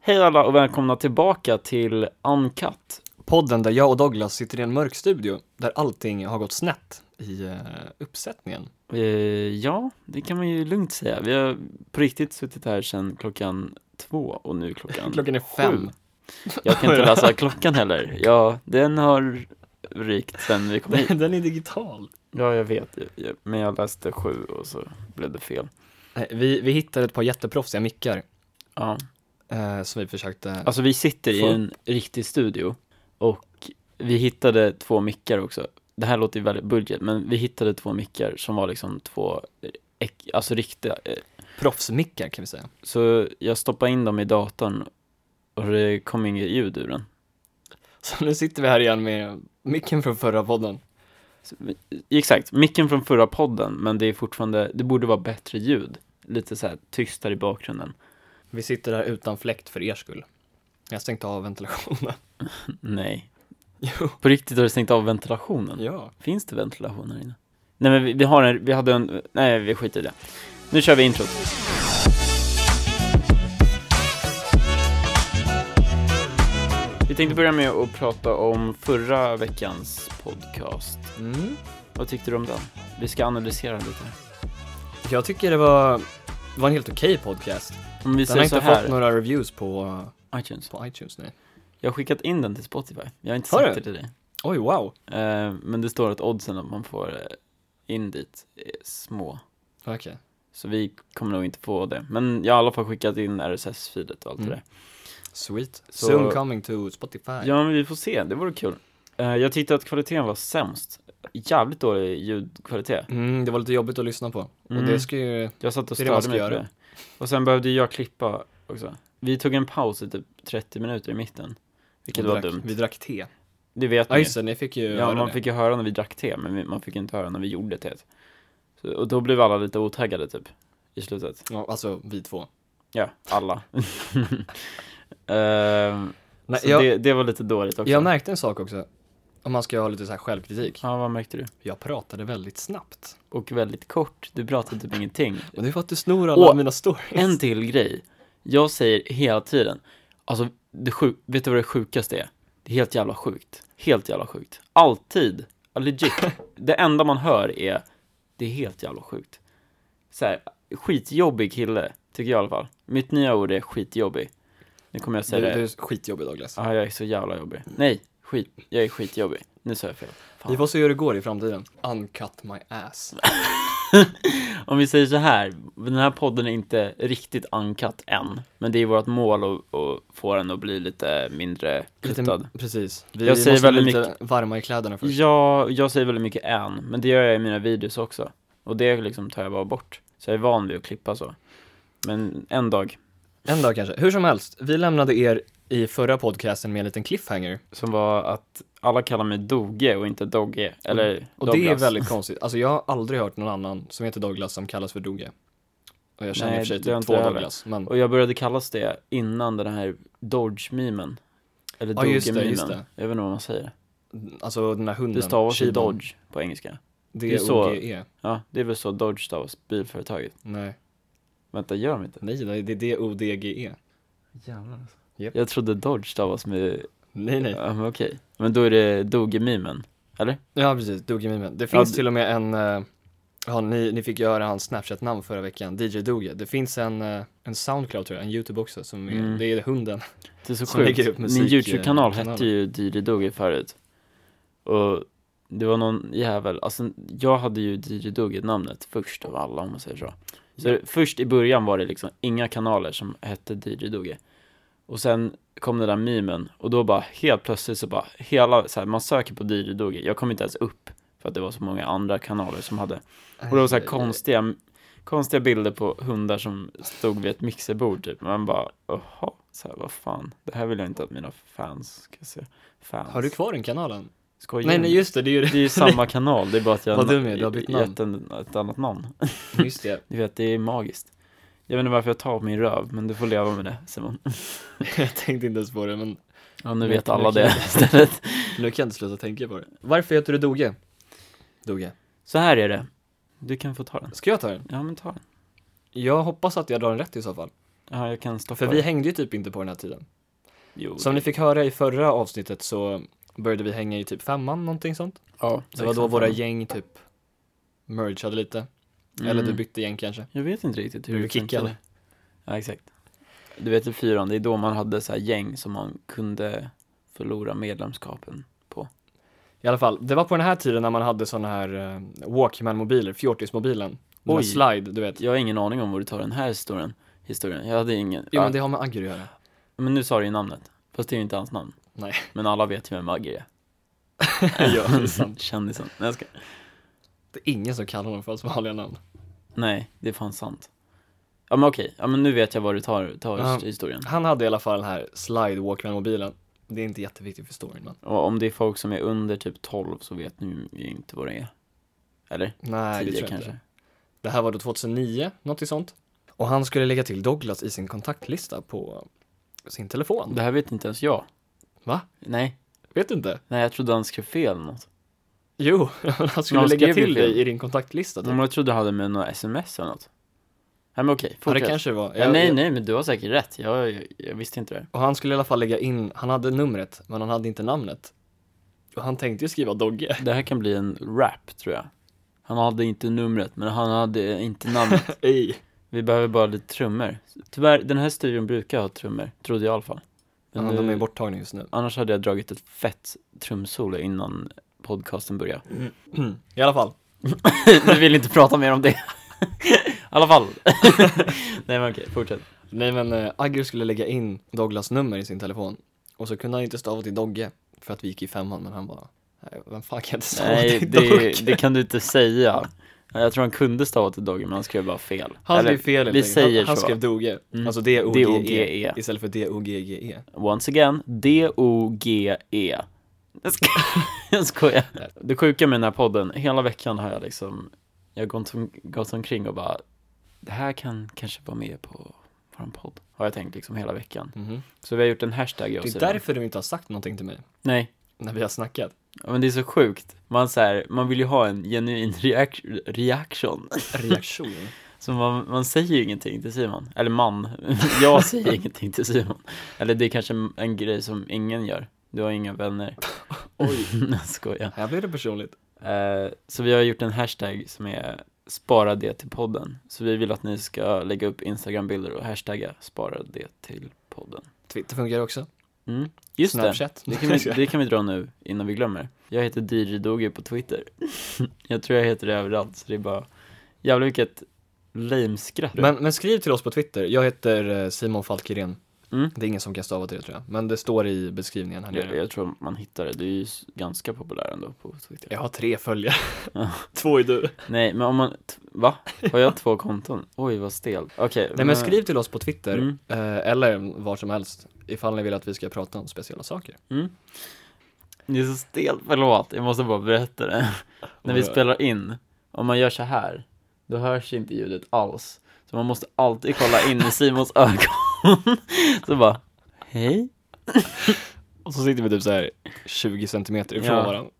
Hej alla och välkomna tillbaka till Uncut. Podden där jag och Douglas sitter i en mörk studio där allting har gått snett i eh, uppsättningen. Eh, ja, det kan man ju lugnt säga. Vi har på riktigt suttit här sedan klockan två och nu klockan... Klockan är fem. Jag kan inte läsa klockan heller. Ja, den har rykt sedan vi kom hit. Den är digital. Ja, jag vet. Jag- Men jag läste sju och så blev det fel. Nej, Vi, vi hittade ett par jätteproffsiga mickar Ja. eh, som vi försökte. Alltså vi sitter i Full. en riktig studio och vi hittade två mickar också. Det här låter ju väldigt budget, men vi hittade två mickar som var liksom två, eh, äk- alltså riktiga. eh. Proffsmickar kan vi säga. Så jag stoppade in dem i datorn och det kom inget ljud ur den. Så nu sitter vi här igen med micken från förra podden. Så, eh, exakt, micken från förra podden, men det är fortfarande, det borde vara bättre ljud. Lite så här tystare i bakgrunden. Vi sitter här utan fläkt för er skull. Jag stängde av ventilationen. Nej. Jo. På riktigt har du stängt av ventilationen? Ja. Finns det ventilation här inne? Nej men vi, vi har en, vi hade en, nej vi skiter i det. Nu kör vi introt. Vi tänkte börja med att prata om förra veckans podcast. Mm. Vad tyckte du om den? Vi ska analysera lite. Jag tycker det var, det var en helt okej podcast. Om vi Den har säger så inte här, fått några reviews på, iTunes. på iTunes nu. Jag har skickat in den till Spotify. Jag har inte Har sagt du? det till dig. Oj, wow. Eh, men det står att oddsen att man får eh, in dit är små. Okej. Så vi kommer nog inte få det. Men jag har i alla fall skickat in RSS-filet och allt Mm. det där. Sweet. Så- Soon coming to Spotify. Ja, men vi får se. Det vore kul. Eh, jag tyckte att kvaliteten var sämst. Jävligt dålig ljudkvalitet. Mm, det var lite jobbigt att lyssna på. Mm. Och det ska ju, Jag satt och Det är det man störde ska mig på göra. det. Och sen behövde jag klippa också. Vi tog en paus i typ 30 minuter i mitten. Vilket vi var drack, dumt. vi drack te. Det vet Ja ni. just det, ni fick ju Ja, höra man det. fick ju höra när vi drack te, men vi- man fick inte höra när vi gjorde teet. Så, och då blev alla lite otaggade typ, i slutet. Ja, alltså vi två. Ja, alla. Ehm, Nej, så jag, det, det var lite dåligt också. jag märkte en sak också. Om man ska ha lite så här självkritik. Ja, vad märkte du? Jag pratade väldigt snabbt. Och väldigt kort, du pratade typ ingenting. Och det är för att du snor alla Åh, mina stories. En till grej, jag säger hela tiden, alltså, det sjuk, vet du vad det sjukaste är? Det är helt jävla sjukt. Helt jävla sjukt. Alltid, Ja, legit. Det enda man hör är, det är helt jävla sjukt. Så här, skitjobbig kille, tycker jag i alla fall. Mitt nya ord är skitjobbig. Nu kommer jag Du, säga du det. Ah, är skitjobbig Douglas. Ja, jag är så jävla jobbig. Nej, skit, jag är skitjobbig. Nu sa jag fel. Fan. Vi får se hur det går i framtiden. Uncut my ass. Om vi säger så här, den här podden är inte riktigt ankat än, men det är vårt mål att, att få den att bli lite mindre kuttad. Lite, precis. Vi Jag säger måste bli väldigt lite varma i kläderna först. Ja, jag säger väldigt mycket än, men det gör jag i mina videos också. Och det liksom tar jag bara bort. Så jag är van vid att klippa så. Men en dag, En dag kanske. Hur som helst, vi lämnade er i förra podcasten med en liten cliffhanger. som var att alla kallar mig Doge och inte Dogge, eller Mm. Och det är Douglas. väldigt konstigt. Alltså jag har aldrig hört någon annan som heter Douglas som kallas för Doge. Och jag känner Nej, i och för sig det har typ inte två jag heller. Douglas, men... Och jag började kallas det innan den här Dodge-memen. Eller Ja, just det, Doge-memen. just det. Jag vet inte vad man säger. Alltså den här hunden. Det stavas ju Shiban. Dodge på engelska. Det Det är är så. O-G-E. Ja, det är väl så Dodge stavas, bilföretaget. Nej. Vänta, gör de inte? Nej, nej, det är D-O-D-G-E. Jävlar alltså. Japp. Jag trodde Dodge stavas med, Nej, nej. ja men okej. Men då är det Doge-mimen, eller? Ja, precis. Doge-mimen. Det Ja, finns d- till och med en... eh, Ja, ni, ni fick göra hans Snapchat-namn förra veckan, DJ Doge. Det finns en, eh, en Soundcloud tror jag, en YouTube också, som är, Mm. det är hunden. Det är så Som lägger sjukt. upp Min musik, YouTube-kanal eh, kanaler. hette ju DJ Doge förut. Och det var någon jävel, alltså jag hade ju DJ Doge-namnet först av alla om man säger så. Så det- först i början var det liksom inga kanaler som hette DJ Doge. Och sen kom den där memen och då bara helt plötsligt så bara hela, så här, man söker på DJ Doge, jag kom inte ens upp för att det var så många andra kanaler som hade. Och det var så Eh, här konstiga, konstiga bilder på hundar som stod vid ett mixerbord typ. Man bara, jaha, så här, vad fan, det här vill jag inte att mina fans ska se. Fans. Har du kvar den kanalen? Skojar Nej, du? nej, just det, det är ju Det är ju samma kanal, det är bara att jag Vad dum jag är, du har bytt namn. gett en, ett annat namn. Just det. Du vet, det är magiskt. Jag vet inte varför jag tar på min röv, men du får leva med det Simon. Jag tänkte inte ens på det, men Ja, nu Men- vet alla men- det istället. Nu kan jag inte sluta tänka på det. Varför heter du Doge? Doge. Så här är det. Du kan få ta den. Ska jag ta den? Ja, men ta den. Jag hoppas att jag drar den rätt i så fall. Ja, jag kan stoppa För vi det. hängde ju typ inte på den här tiden. Jo, Som det- ni fick höra i förra avsnittet så började vi hänga i typ femman, någonting sånt. ja, Det var då sexan, våra femman. gäng typ mergeade lite. Mm. Eller du bytte gäng kanske. Jag vet inte riktigt hur det Blev vi kickade? funkade. Ja, exakt. Du vet i fyran, det är då man hade så här gäng som man kunde förlora medlemskapen. I alla fall, det var på den här tiden när man hade såna här eh, Walkman-mobiler, fjortismobilen. Den här Oj. slide, du vet. Jag har ingen aning om var du tar den här historien. historien. Jag hade ingen. Jo ja. men det har med Agger att göra. men nu sa du ju namnet. Fast det är ju inte hans namn. Nej. Men alla vet ju vem Agger är. ja, det är sant. Kändisen. Nej, jag ska... Det är ingen som kallar honom för hans vanliga namn. Nej, det är fan sant. Ja men okej, ja men nu vet jag var du tar, tar Ja. historien. Han hade i alla fall den här slide Walkman-mobilen. Det är inte jätteviktigt för storyn men. Och om det är folk som är under typ 12 så vet ni ju inte vad det är. Eller? Nej, det 10 tror jag kanske. inte. Det här var då 2009, något sånt. Och han skulle lägga till Douglas i sin kontaktlista på sin telefon. Det här vet inte ens jag. Va? Nej, Vet du inte? nej jag trodde han skrev fel eller något. Jo, han skulle han lägga skrev ju till fel. Mm. dig i din kontaktlista typ. Men jag trodde han hade med några sms eller något. Nej men okej, Ja, det fortsätt. kanske det var. ja, Jag- nej jag- nej men du har säkert rätt, jag, jag, jag visste inte det. Och han skulle i alla fall lägga in, han hade numret, men han hade inte namnet. Och han tänkte ju skriva Dogge. Det här kan bli en rap tror jag. Han hade inte numret, men han hade inte namnet. Ej. Vi behöver bara lite trummor. Tyvärr, den här studion brukar ha trummor, trodde jag i alla fall. Men Men de nu- är borttagna just nu. Annars hade jag dragit ett fett trumsolo innan podcasten började. I alla fall. Vi vill inte prata mer om det. I alla fall. Nej men okej, fortsätt. Nej men eh, Agger skulle lägga in Douglas nummer i sin telefon. Och så kunde han inte stava till Dogge. För att vi gick i femman, men han bara, nej, vem fan kan inte stava Nej, till det, Dogge? det kan du inte säga. Nej, Jag tror han kunde stava till Dogge, men han skrev bara fel. Han Eller, skrev fel helt vi enkelt. säger han, han så. skrev Doge. Mm. Alltså D-O-G-E. D-O-G-E. Istället för D-O-G-G-E. Once again, D-O-G-E. Jag sko- E. Jag skojar. Det sjuka med den här podden, hela veckan har jag liksom, jag har gått, om, gått omkring och bara, det här kan kanske vara med på våran podd. Har jag tänkt liksom hela veckan. Mhm. Så vi har gjort en hashtag i Det oss är idag. därför du inte har sagt någonting till mig. Nej, När vi har snackat. ja, men det är så sjukt. Man så här, man vill ju ha en genuin reac- reaction. Reaktion. Så man, man säger ju ingenting till Simon. Eller man, jag säger ingenting till Simon. Eller det är kanske en grej som ingen gör. Du har inga vänner. Oj. Jag skojar. Här blev det personligt. Eh, så vi har gjort en hashtag som är spara det till podden. Så vi vill att ni ska lägga upp Instagram-bilder och hashtagga spara det till podden. Twitter funkar också. Mm. Just det, Snapchat. det kan, vi, det kan vi dra nu innan vi glömmer. Jag heter DJ Doge på Twitter. jag tror jag heter det överallt, så det är bara jävlar vilket lame-skratt. Men, men skriv till oss på Twitter. Jag heter eh, Simon Falkgren. Mm. Det är ingen som kan stava till det tror jag. Men det står i beskrivningen här jag, nere. jag tror man hittar det, du är ju s- ganska populär ändå på Twitter. Jag har tre följare. Ja. Två är du. Nej, men om man, t- va? Har jag två konton? Oj, vad stel. Okej. Nej men skriv till oss på Twitter. Mm. eh, Eller var som helst. Ifall ni vill att vi ska prata om speciella saker. Det är så stelt, förlåt, jag måste bara berätta det. När vi Vadå? spelar in, om man gör så här, då hörs inte ljudet alls. Så man måste alltid kolla in i Simons ögon. Så bara, hej? Och så sitter vi typ så här 20 centimeter ifrån Ja. varandra.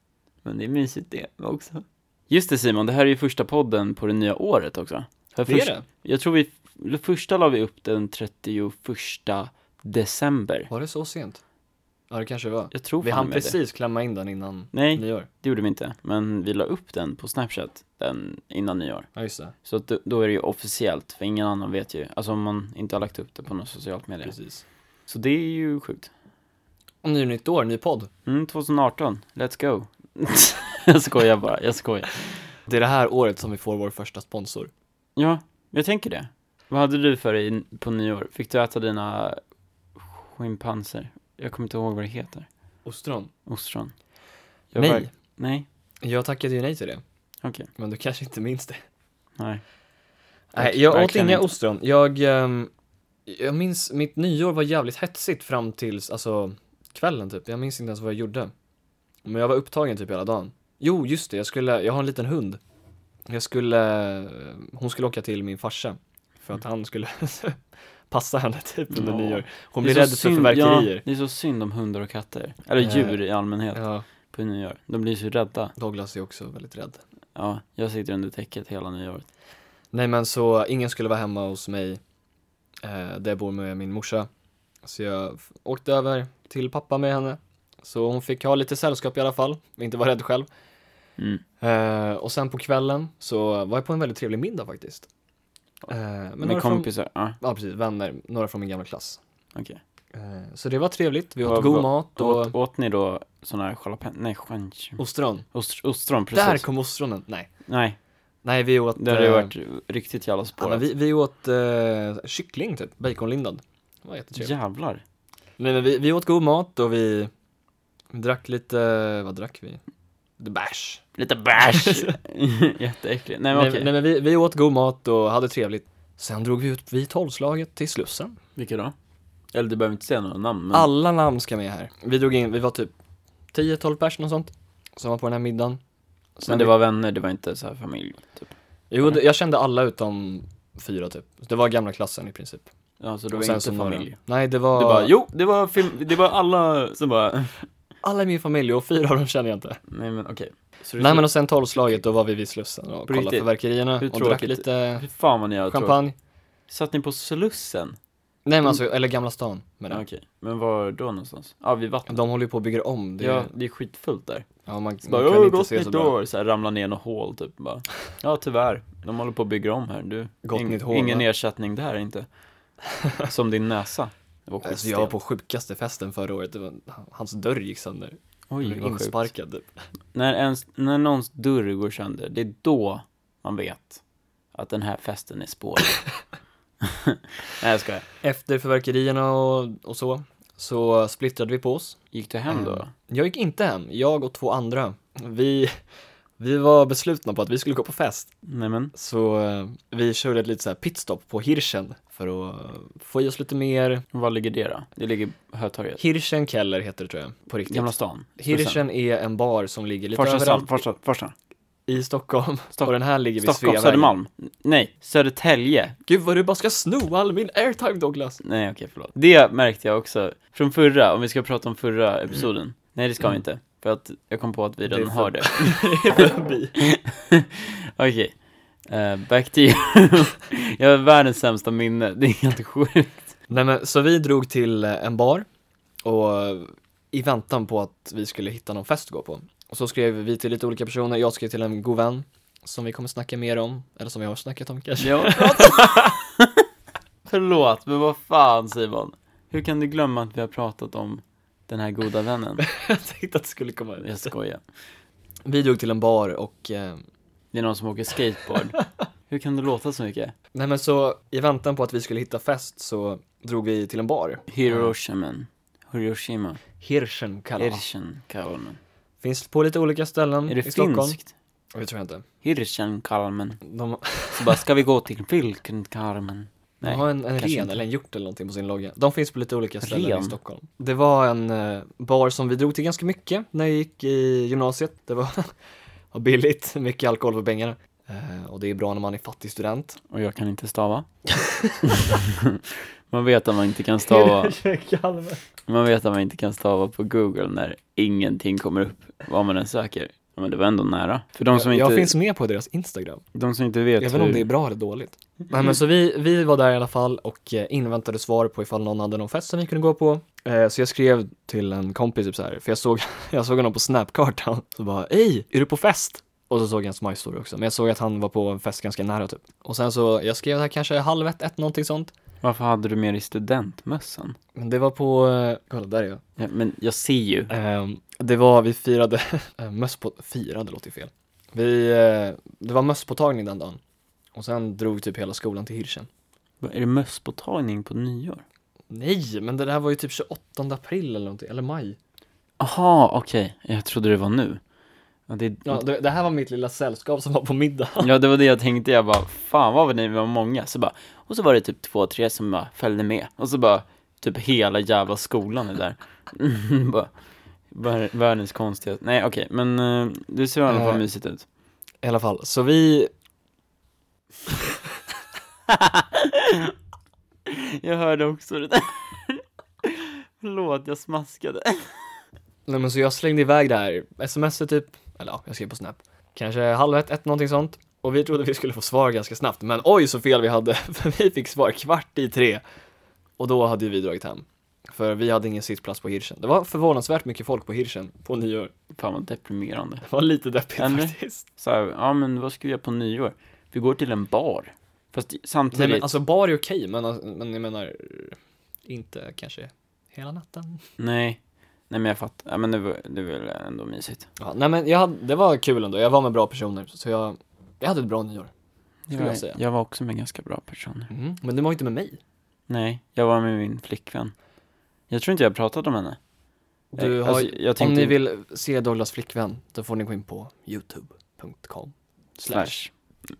Men det är mysigt det också. Just det Simon, det här är ju första podden på det nya året också. För Det är först- det. Jag tror vi, det första la vi upp den 31 december. Var det så sent? Ja det kanske det var. Jag tror Vi fan hann med det. precis klämma in den innan Nej, nyår. det gjorde vi inte. Men vi la upp den på Snapchat den innan nyår. Ja just det. Så att då, då är det ju officiellt, för ingen annan vet ju. Alltså om man inte har lagt upp det på något socialt medie. Precis. Så det är ju sjukt. Och nu är det nytt år, ny podd. Mm, 2018, let's go. jag skojar bara, jag skojar. Det är det här året som vi får vår första sponsor. Ja, jag tänker det. Vad hade du för dig på nyår? Fick du äta dina schimpanser? Jag kommer inte ihåg vad det heter. Ostron. Ostron. Jag Nej. var- Nej, Jag tackade ju nej till det. okej. Men du kanske inte minns det? Nej. Nej, jag åt Verkligen inga inte. ostron. Jag, ehm, jag minns, mitt nyår var jävligt hetsigt fram tills, alltså kvällen typ. Jag minns inte ens vad jag gjorde. Men jag var upptagen typ hela dagen. Jo, just det, jag skulle, jag har en liten hund. Jag skulle, eh, hon skulle åka till min farsa. För att han skulle passa henne typ under Ja. nyår. Hon Det är blir så rädd för synd- fyrverkerier. Ja, det är så synd om hundar och katter. Eller Eh, djur i allmänhet Ja, på nyår. De blir så rädda. Douglas är också väldigt rädd. Ja, jag sitter under täcket hela nyåret. Nej men så, ingen skulle vara hemma hos mig eh, där jag bor med min morsa. Så jag f- åkte över till pappa med henne. Så hon fick ha lite sällskap i alla fall, och inte vara rädd själv. Mm. Eh, och sen på kvällen så var jag på en väldigt trevlig middag faktiskt. Eh, men några Med från- kompisar? Ja, Ja, precis. Vänner. Några från min gamla klass. okej. Eh, Så det var trevligt. Vi åt Vad- god vad- mat och Åt, åt ni då såna här jalapeños? Nej, chanch- ostron. ost, ostron precis. Där kom ostronen. Nej. Nej, Nej, vi åt... det hade ju eh, varit riktigt jävla Anna, spårat. vi, vi åt eh, kyckling typ, baconlindad. Det var jättetrevligt. Jävlar. Nej, men vi, vi åt god mat och vi drack lite, vad drack vi? The bash. Lite bärs. Jätteäckligt. Nej men Nej, okej. nej men vi, vi åt god mat och hade trevligt. Sen drog vi ut vid tolvslaget till Slussen. Vilka då? Eller du behöver inte säga några namn men. Alla namn ska med här. Vi drog in, vi var typ 10-12 personer och sånt. Som var på den här middagen. Sen men det var vänner, det var inte så här familj typ. Jo, det- jag kände alla utom fyra typ. Det var gamla klassen i princip. Ja så det Och var sen inte så familj. några- Nej, det var... Du bara, jo det var film, det var alla som bara, Alla i min familj och fyra av dem känner jag inte. nej men okej. Så du- Nej men och sen tolvslaget, då var vi vid Slussen och På kollade riktigt? fyrverkerierna Hur och drack tråkigt. lite Fy fan vad ni har tråkigt. champagne. Satt ni på Slussen? Nej men alltså, eller Gamla stan men Mm. Ja, Okej, men var då någonstans? Ja vid vattnet. De håller ju på och bygger om, det, Ja, det är skitfullt där. ja, man, Så man bara, kan åh, inte gott se så nytt bra. år, så här, ramlar ner i något hål typ bara. Ja tyvärr, de håller på att bygga om här. Du, Gott nytt hål, ingen va? ersättning där inte. Som din näsa. Det var Alltså jag var på sjukaste festen förra året, det var, hans dörr gick sönder. Jag Oj, blev vad sjukt. insparkad typ. När, ens, när någons dörr går sönder, det är då man vet att den här festen är spårig. Nej jag skojar. Efter fyrverkerierna och, och så, så splittrade vi på oss. Gick du hem då? Jag gick inte hem, jag och två andra. Vi, vi var beslutna på att vi skulle gå på fest, Nej men, så eh, vi körde ett litet så här pitstop på Hirschen för att eh, få i oss lite mer. var ligger det då? Det ligger på Hötorget. Hirschen Keller heter det tror jag, på riktigt. Gamla stan. Hirschen är en bar som ligger lite Farsta stan, överallt Farsta, Farsta. i Stockholm. Stock- och den här ligger vid Stockholm, Sveavägen. Södermalm. Nej, Södertälje. Gud vad du bara ska sno all min airtime Douglas. Nej okej, förlåt. Det märkte jag också från förra, om vi ska prata om förra episoden. Nej det ska vi inte, för att jag kom på att vi Mm. Det är redan för- har det. Förbi. Okej, Eh, back to you. jag har världens sämsta minne, det är helt sjukt. Nej men så vi drog till eh, en bar och eh, i väntan på att vi skulle hitta någon fest att gå på. Och så skrev vi till lite olika personer, jag skrev till en god vän som vi kommer snacka mer om, eller som vi har snackat om kanske. Jag Förlåt, men vad fan Simon? Hur kan du glömma att vi har pratat om den här goda vännen? jag tänkte att det skulle komma ut. Jag skojar. Vi drog till en bar och eh, Det är någon som åker skateboard. Hur kan du låta så mycket? Nej men så i väntan på att vi skulle hitta fest så drog vi till en bar. Hiroshima. Hiroshima. Hirschen kallar det. Hirschen kallar man. Finns på lite olika ställen Är Mm, i det Stockholm. finskt? Det tror jag inte. Hirschenkalmen. De, Så bara, ska vi gå till Vilkenkarmen? De Nej. har en, en kanske ren inte. eller en hjort eller någonting på sin logga. De finns på lite olika ställen Ren? i Stockholm. Det var en eh, bar som vi drog till ganska mycket när jag gick i gymnasiet. Det var var billigt, mycket alkohol för pengarna. Eh, och det är bra när man är fattig student. Och jag kan inte stava. man vet att man inte kan stava. Man vet att man inte kan stava på Google när ingenting kommer upp vad man än söker. Ja, men det var ändå nära. För de som jag, inte, jag finns med på deras Instagram, de som inte vet även hur... om det är bra eller dåligt. Nej men så vi, vi var där i alla fall och eh, inväntade svar på ifall någon hade någon fest som vi kunde gå på. Eh, så jag skrev till en kompis typ så här, för jag såg, jag såg honom på snapkartan. Så bara, ej, är du på fest? Och så såg jag hans My Story också, men jag såg att han var på en fest ganska nära typ. Och sen så, jag skrev här kanske halv ett, ett någonting sånt. Varför hade du med dig studentmössan? Men det var på, eh, kolla där är jag. Ja, men jag ser ju. Ehm, det var, vi firade, eh, mösspå, firade låter ju fel. Vi, eh, det var mösspåtagning den dagen. Och sen drog typ hela skolan till Hirschen. Vad, Är det mösspåtagning på nyår? Nej, men det där var ju typ 28 april eller någonting, eller maj. Aha, okej. Jag trodde det var nu. Ja, det, Ja, det, det här var mitt lilla sällskap som var på middag. Ja, det var det jag tänkte. Jag bara, fan vad ni var många. Så bara, och så var det typ två, tre som bara följde med. Och så bara, typ hela jävla skolan är där. bara, vär- världens konstigaste. Nej, okej, men eh, det ser i alla fall Eh. mysigt ut. I alla fall, så vi... Jag hörde också det där. Förlåt, jag smaskade. Nej men så jag slängde iväg det här smset typ, eller ja, jag skrev på Snap. Kanske halv ett, ett någonting sånt. Och vi trodde vi skulle få svar ganska snabbt, men oj så fel vi hade, för vi fick svar kvart i tre. Och då hade ju vi dragit hem. För vi hade ingen sittplats på Hirschen. Det var förvånansvärt mycket folk på Hirschen på nyår. Fan vad deprimerande. Det var lite deppigt Eller? faktiskt. Så här, ja men vad ska vi göra på nyår? Vi går till en bar. Fast Nej samtidigt, men alltså bar är okej, men, alltså- men jag menar inte kanske hela natten. nej. Nej men jag fattar, ja, men det var, det var väl ändå mysigt. Ja, nej men jag hade, det var kul ändå, jag var med bra personer, så jag, jag hade ett bra nyår. Skulle jag säga. jag var också med ganska bra personer. Mm-hmm. Men det var inte med mig. Nej, jag var med min flickvän. Jag tror inte jag pratade om henne. Du Eh, har, alltså, jag om tänkte- ni vill se Douglas flickvän, då får ni gå in på youtube.com Slash.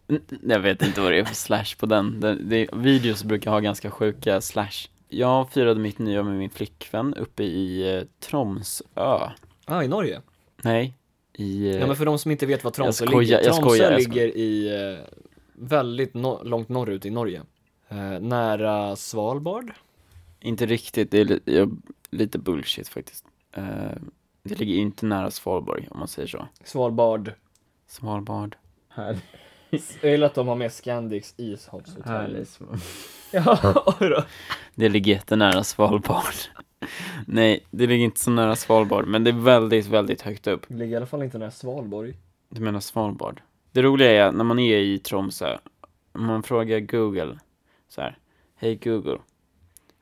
Mm, Jag vet inte vad det är för slash på den. den det, videos brukar ha ganska sjuka slash. Jag firade mitt nyår med min flickvän uppe i eh, Tromsö. Ah, i Norge? Nej, i... eh, Ja men för de som inte vet var Tromsö skojar, ligger, jag Tromsö skojar, jag ligger i, eh, väldigt no- långt norrut i Norge. Eh, nära Svalbard? Inte riktigt, det är li- jag, lite bullshit faktiskt. Eh, det ligger inte nära Svalbard om man säger så. Svalbard. Svalbard. Här. Jag gillar att de har med Scandics ishavshotell. Ja, oj då. Det ligger jättenära Svalbard. Nej, det ligger inte så nära Svalbard, men det är väldigt, väldigt högt upp. Det ligger i alla fall inte nära Svalborg. Du menar Svalbard? Det roliga är när man är i Tromsö, om man frågar Google så här, Hej Google,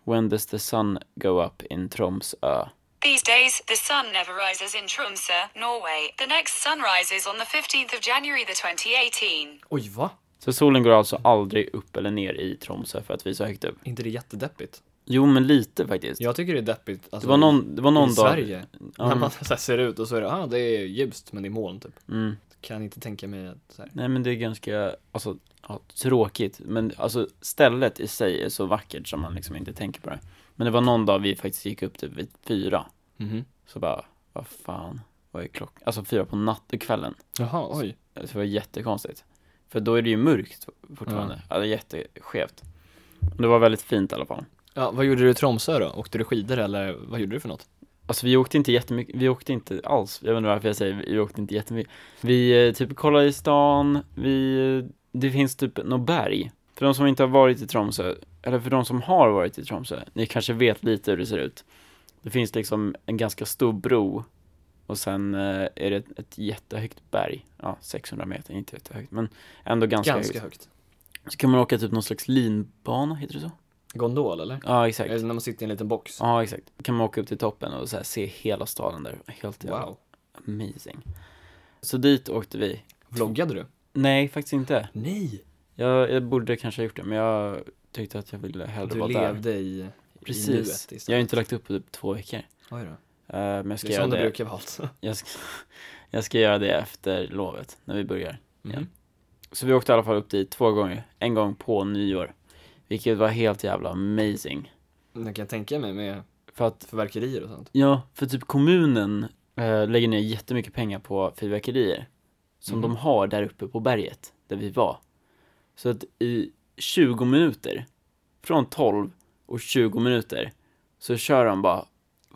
when does the sun go up in Tromsö? These days, the sun never rises in Tromsø, Norway. The next sun rises on the 15th of January the 2018. Oj, va? Så solen går alltså aldrig upp eller ner i Tromsö för att vi är så högt upp? inte det jättedeppigt? Jo, men lite faktiskt. Jag tycker det är deppigt. Det Alltså, var någon, det var någon i dag... Sverige. Ja, När man så här ser ut och så är det, ah, det är ljust men det är moln typ. mm. Kan inte tänka mig att så här. Nej men det är ganska, alltså, ja, tråkigt. Men alltså stället i sig är så vackert som man liksom inte tänker på det. Men det var någon dag vi faktiskt gick upp typ vid fyra. Så bara, vad fan, vad är klockan? Alltså fyra på nattkvällen. Jaha, oj. Det var jättekonstigt. För då är det ju mörkt fortfarande. Ja, det är jätteskevt. Men det var väldigt fint i alla fall. Ja, vad gjorde du i Tromsö då? Åkte du skidor eller vad gjorde du för något? Alltså vi åkte inte jättemycket, vi åkte inte alls, jag vet inte varför jag säger vi åkte inte jättemycket Vi eh, typ kollade i stan, vi, eh, det finns typ något berg För de som inte har varit i Tromsö, eller för de som har varit i Tromsö, ni kanske vet lite hur det ser ut Det finns liksom en ganska stor bro och sen eh, är det ett, ett jättehögt berg, ja 600 meter, inte jättehögt men ändå ganska, högt. högt. Så kan man åka typ någon slags linbana, heter det så? Gondol eller? Ja exakt, Eller när man sitter i en liten box. ja exakt, kan man åka upp till toppen och så här, se hela staden där, helt jävla Wow. Amazing. Så dit åkte vi. Vloggade du? Nej, faktiskt inte. Nej. Jag, jag borde kanske ha gjort det, men jag tyckte att jag ville hellre Du vara där. levde i, i nuet Precis. istället. Jag har inte lagt upp på typ två veckor. Oj då. Eh, men jag ska, Det är göra som det det. brukar vara alltså. Jag, ska, jag ska göra det efter lovet, när vi börjar. Mm. Så vi åkte i alla fall upp dit två gånger. En gång på nyår. Vilket var helt jävla amazing. Jag kan tänka mig med För att förverkerier och sånt. Ja, för typ kommunen eh, lägger ner jättemycket pengar på fyrverkerier som Mhm. de har där uppe på berget där vi var. Så att i 20 minuter, från 12 och 20 minuter, så kör de bara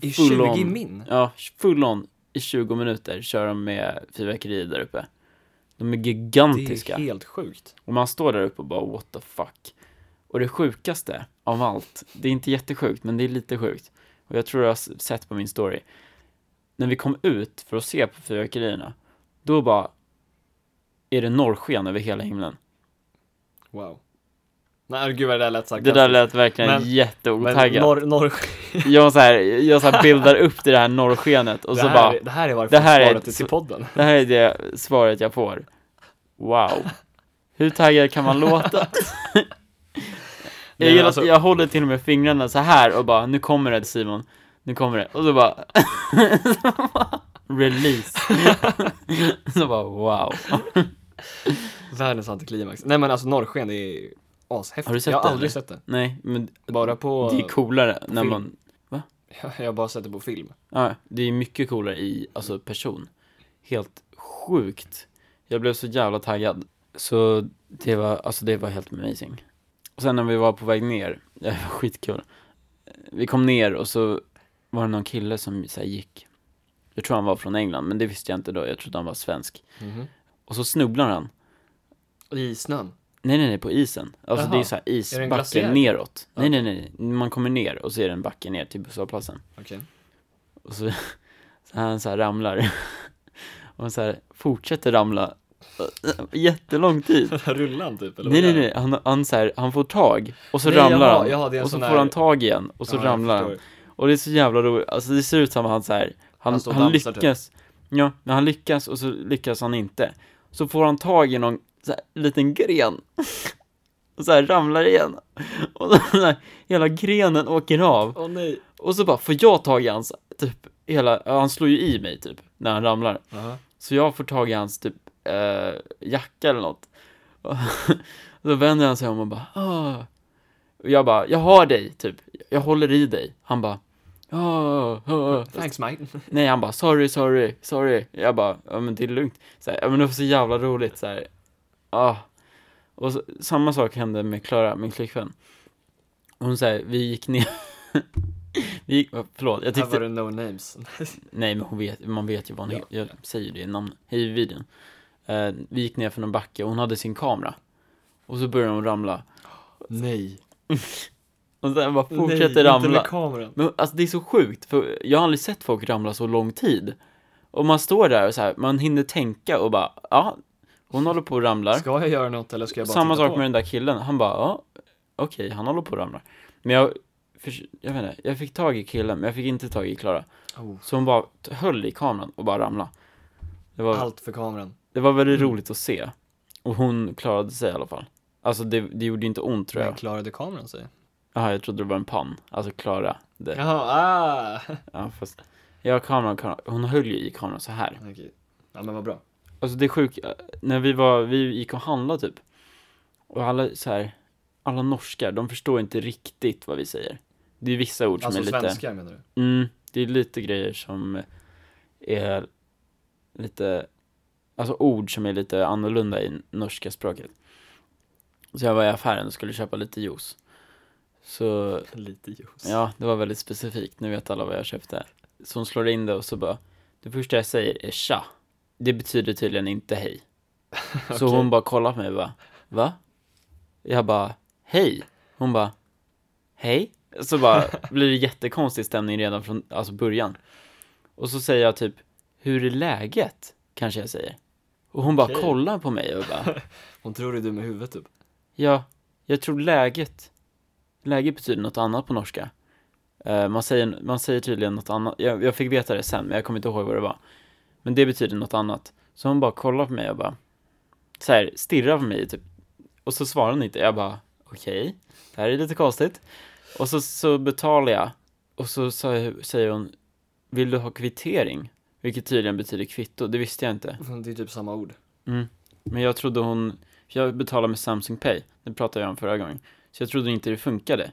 I full 20 on- min? Ja, full on i 20 minuter kör de med fyrverkerier där uppe. De är gigantiska. Det är helt sjukt. Och man står där uppe och bara what the fuck. Och det sjukaste av allt, det är inte jättesjukt men det är lite sjukt. Och jag tror jag har s- sett på min story. När vi kom ut för att se på fyrverkerierna, då bara är det norrsken över hela himlen. Wow. Nej gud vad det där lät Det sarkastiskt. där lät verkligen Men- jätteotaggat. Men norr, norr, Jag, så här, jag så här bildar upp det här norrskenet och det, så här, bara, är- det här är varför det här är svaret ett- till podden. det här är det svaret jag får. Wow. Hur taggad kan man låta? Nej, Jag, gillar, men alltså, att jag håller till och med fingrarna så här och bara, nu kommer det Simon, nu kommer det. Och så bara, release. så bara, wow. Världens antiklimax. Nej men alltså norrsken, det är ashäftigt. Har du sett jag har det, aldrig eller? sett det. Nej, men Bara på... det är coolare när film. man, Jag har bara sett det på film. ja, det är mycket coolare i, alltså person. Helt sjukt. Jag blev så jävla taggad. Så det var, alltså det var helt amazing. Och sen när vi var på väg ner, det var skitkul. Vi kom ner och så var det någon kille som så här, gick. Jag Mhm. tror han var från England, men det visste jag inte då. Jag trodde han var svensk. Och så snubblar han. I snön? Nej nej nej, på isen. Alltså Jaha. det är så här Är det en isbacke glaciär? neråt. Ja. Nej nej nej, man kommer ner och så är det en backe ner till busshållplatsen. Okej. Och så, så han så här ramlar. Och han så här fortsätter ramla eh, jättelång tid. Rullan typ eller? Nej vad nej är det? nej, han, han så här, han får tag och så Nej, ramlar jaha, han. jaha, det är en och så sån får här- han tag igen och så Ja, jag ramlar han. förstår. Och det är så jävla roligt, alltså det ser ut som han så här, han, Han står och han dansar, typ. lyckas, ja, men han lyckas och så lyckas han inte. Så får han tag i någon så här, liten gren. och så här ramlar igen. Och den här, hela grenen åker av. Åh nej. Och så bara får jag tag i hans, typ, hela, ja, han slår ju i mig typ, när han ramlar. Jaha. Så jag får tag i hans typ eh, jacka eller något. Och då vänder han sig om och bara Åh. Och jag bara, jag har dig, typ. Jag håller i dig. Han bara "Ah, Åh, åh. Thanks mate. Nej, han bara sorry, sorry, sorry. Jag bara, ja men det är lugnt. Så här, ja men det var så jävla roligt så här. Ah. Och så, samma sak hände med Klara, min flickvän. Hon säger, vi gick ner. vi gick, oh, förlåt, jag Här tyckte var det no names. Nej men hon vet, man vet ju vad hon Ja. Jag säger ju det i namn, i videon. Eh, vi gick ner för någon backe och hon hade sin kamera. Och så började hon ramla. nej. Och sen bara nej, fortsätter Inte ramla. med kameran. Men alltså det är så sjukt, för jag har aldrig sett folk ramla så lång tid. Och man står där och så här, man hinner tänka och bara, ja, hon håller på och ramlar. Ska jag göra något eller ska jag bara Samma titta sak på? med den där killen, han bara, ja, okej, han håller på och ramlar. Men jag, förs- jag vet inte, jag fick tag i killen, men jag fick inte tag i Klara. Oh, Så hon bara t- höll i kameran och bara ramla. Det var, allt Mm. för kameran. det var väldigt roligt att se. Och hon klarade sig i alla fall. Alltså det, det gjorde inte ont tror Men jag. klarade kameran sig? Jaha, jag trodde det var en pann. Alltså klara det. Ja, Jaha, ah! fast. Ja, kameran, kameran. Hon höll ju i kameran så här. Okej. Ja men vad bra. Alltså det är sjukt. eh, När vi var, vi gick och handlade typ. Och alla så här, alla norskar, de förstår inte riktigt vad vi säger. Det är vissa ord som Alltså är lite. svenskar menar du? Mm, det är lite grejer som är lite, alltså ord som är lite annorlunda i norska språket. Så jag var i affären och skulle köpa lite juice. Så, Lite juice. ja, det var väldigt specifikt, nu vet alla vad jag köpte. Så hon slår in det och så bara, det första jag säger är tja. Det betyder tydligen inte hej. Så Okej. hon bara kollar på mig och bara, va? Jag bara, hej. Hon bara, hej. Så bara blir det jättekonstig stämning redan från alltså början. Och så säger jag typ, hur är läget? Kanske jag säger. Och hon bara Okej. kollar på mig och bara, Hon tror det är du med huvudet typ. ja, jag tror läget. Läget betyder något annat på norska. Eh, man, säger, man säger tydligen något annat. Jag, jag fick veta det sen, men jag kommer inte ihåg vad det var. Men det betyder något annat. Så hon bara kollar på mig och bara, så här, stirrar på mig typ. Och så svarar hon inte. Jag bara, okej, det här är lite konstigt. Och så, så betalar jag. Och så, sa- säger hon, vill du ha kvittering? Vilket tydligen betyder kvitto, det visste jag inte. Det är typ samma ord. Men jag trodde hon, för jag betalar med Samsung Pay, det pratade jag om förra gången. Så jag trodde inte det funkade.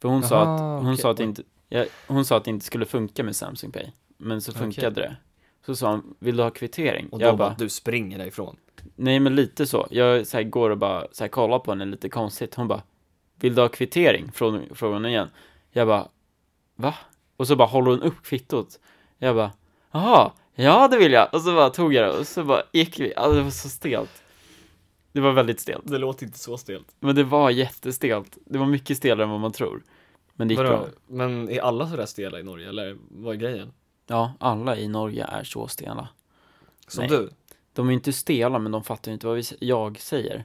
För hon sa Jaha, att, hon okej. sa att det inte, jag, hon sa att det inte skulle funka med Samsung Pay. Men så funkade det. Så sa hon, vill du ha kvittering? Och då jag bara, bara, du springer därifrån. nej men lite så. Jag så här, går och bara så här, kollar på henne lite konstigt. Hon bara, vill du ha kvittering? Frå- Frågar hon igen. Jag bara, va? Och så bara håller hon upp kvittot. Jag bara, jaha, ja det vill jag. Och så bara tog jag det och så bara gick vi. Alltså det var så stelt. Det var väldigt stelt. Det låter inte så stelt. Men det var jättestelt. Det var mycket stelare än vad man tror. Men det gick bra. Vadå? Men är alla sådär stela i Norge eller vad är grejen? Ja, alla i Norge är så stela. Som Nej. du? De är inte stela, men de fattar ju inte vad vi, s- jag säger.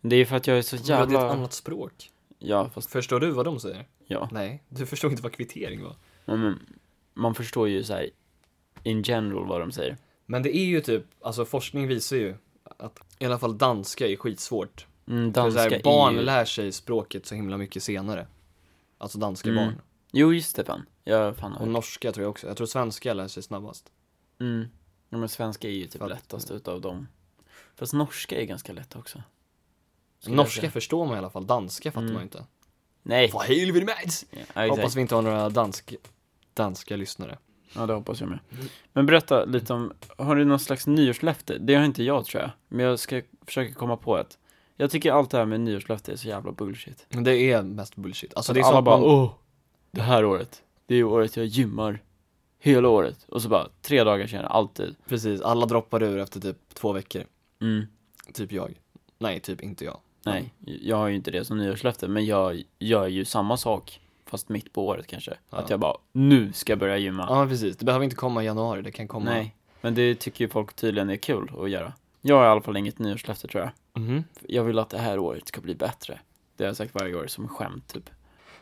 Det är ju för att jag är så Jävlar. Det är ett jävla... annat språk. Ja, fast Förstår du vad de säger? ja. Nej, du förstår inte vad kvittering var. Men, men, man förstår ju så här in general vad de säger. Men det är ju typ, alltså forskning visar ju att i alla fall danska är skitsvårt. Mm, För danska så är här, barn ju... lär sig språket så himla mycket senare. Alltså danska Mm. barn. Jo, just det fan. Jag fan Och har... norska tror jag också. Jag tror svenska lär sig snabbast. Mm. Ja, men svenska är ju typ För att- lättast utav dem. Fast norska är ganska lätt också. Skulle jag Norska säga. förstår man i alla fall, danska fattar Mm. man ju inte. Nej! Vad hej vill med? Ja, exakt. Hoppas vi inte har några dansk, danska lyssnare. Ja, det hoppas jag med. Mm. Men berätta lite om, har du någon slags nyårslöfte? Det har inte jag tror jag, men jag ska försöka komma på ett. Jag tycker allt det här med nyårslöfte är så jävla bullshit. Men det är mest bullshit. Alltså Så det är alla sånt bara, man... åh, det här året, det är året jag gymmar hela året. Och så bara, tre dagar senare, alltid. Precis, alla droppar ur efter typ två veckor. Mm. Typ jag. Nej, typ inte jag. Nej, jag har ju inte det som nyårslöfte, men jag gör ju samma sak, fast mitt på året kanske. Ja. Att jag bara, nu ska jag börja gymma. Ja, men precis. Det behöver inte komma i januari, det kan komma... Nej, men det tycker ju folk tydligen är kul att göra. Jag har i alla fall inget nyårslöfte tror jag. Mhm. Jag vill att det här året ska bli bättre. Det har jag sagt varje år som skämt typ.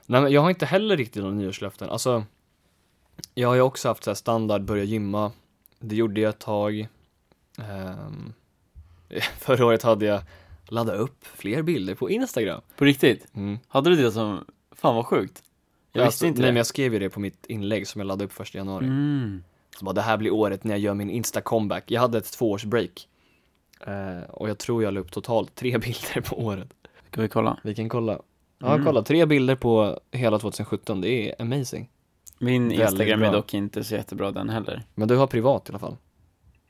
Nej, men jag har inte heller riktigt några nyårslöften. Alltså, jag har ju också haft så här standard, börja gymma. Det gjorde jag ett tag. Ehm, förra året hade jag ladda upp fler bilder på Instagram. På riktigt? Hade du det som, fan vad sjukt. Mm. Jag Alltså, visste inte nej, det. men jag skrev ju det på mitt inlägg som jag laddade upp första januari. Mm. Så bara, det här blir året när jag gör min Insta-comeback. Jag hade ett tvåårsbreak. Eh, och jag tror jag la upp totalt tre bilder på året. Ska vi kolla? Vi kan kolla. Ja, Mm. kolla. Tre bilder på hela 2017. Det är amazing. Min Väldigt Instagram är bra. dock inte så jättebra den heller. Men du har privat i alla fall.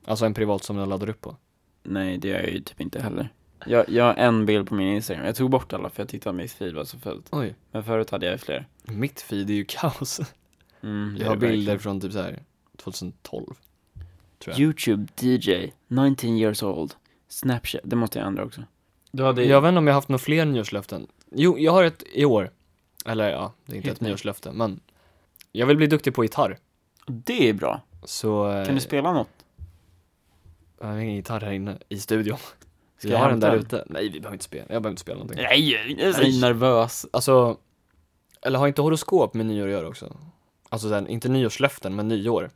Alltså en privat som jag laddar upp på. Nej, det gör jag ju typ inte heller. Jag, jag har en bild på min Instagram. Jag tog bort alla för jag tyckte att mitt feed var så fullt. Oj. Men förut hade jag ju fler. Mitt feed är ju kaos. Mm, det Jag har är det bilder verkligen. från typ så här 2012. tror jag. Youtube DJ, 19 years old. Snapchat, det måste jag ändra också. Du hade Jag vet inte om jag har haft några fler nyårslöften. Jo, jag har ett i år. Eller ja, det är inte Helt ett ny. nyårslöfte, men jag vill bli duktig på gitarr. Det är bra. Så... eh, Kan du spela något? Jag har ingen gitarr här inne i studion. Ska jag ha den hämta där ute? Nej, vi behöver inte spela. Jag behöver inte spela någonting. Nej, jag är Jag är så nervös. Alltså, eller har inte horoskop med nyår att göra också? Alltså sen, inte nyårslöften, men nyår.